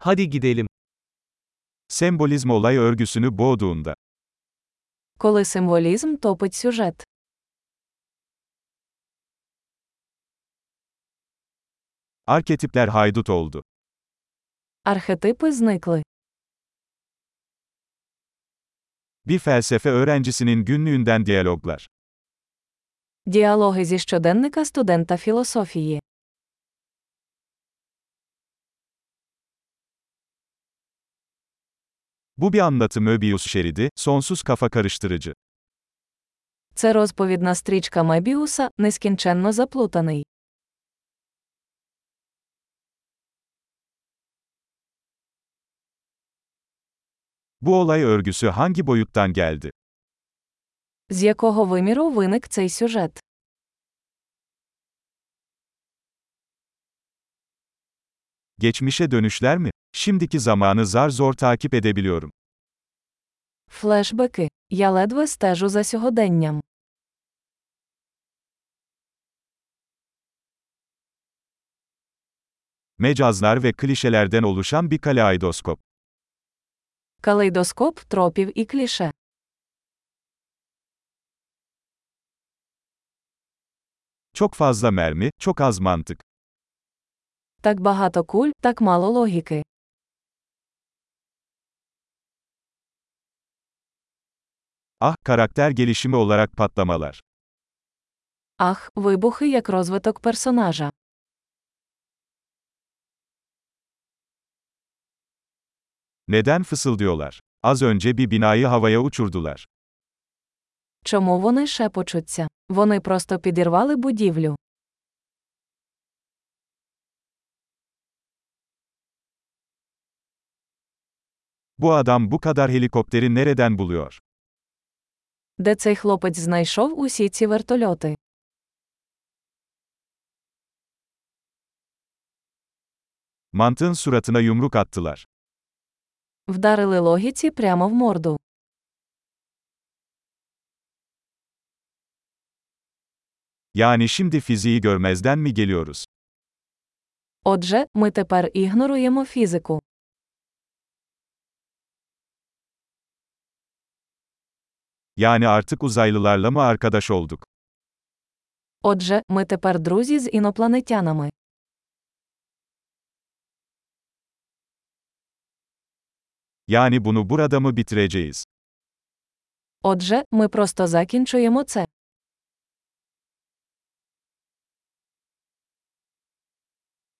Hadi gidelim. Sembolizm olay örgüsünü boğduğunda. Коли символізм топить сюжет. Arketipler haydut oldu. Архетипи зникли. Bir felsefe öğrencisinin günlüğünden diyaloglar. Діалоги зі щоденника студента філософії. Bu bir anlatı Möbius şeridi, sonsuz kafa karıştırıcı. Це розповідна стрічка Мебіуса, нескінченно заплутаний. Bu olay örgüsü hangi boyuttan geldi? З якого виміру виник цей сюжет? Geçmişe dönüşler mi? Şimdiki zamanı zar zor takip edebiliyorum. Флешбеки. Я ледве стежу за сьогоденням. Mecazlar ve klişelerden oluşan bir kaleidoskop. Калейдоскоп тропів і кліше. Çok fazla mermi, çok az mantık. Так багато куль, так мало логіки. Ah, karakter gelişimi olarak patlamalar. Ах, вибухи як розвиток персонажа. Neden fısıldıyorlar? Az önce bir binayı havaya uçurdular. Чому вони шепочуться? Вони просто підірвали будівлю. Bu adam bu kadar helikopteri nereden buluyor? Де цей хлопець знайшов усі ці вертольоти? Mantığın suratına yumruk attılar. Вдарили логіці прямо в морду. Yani şimdi fiziği görmezden mi geliyoruz? Отже, ми тепер ігноруємо фізику. Yani artık uzaylılarla mı arkadaş olduk? Отже, ми тепер друзі з інопланетянами. Yani bunu burada mı bitireceğiz? Отже, ми просто закінчуємо це.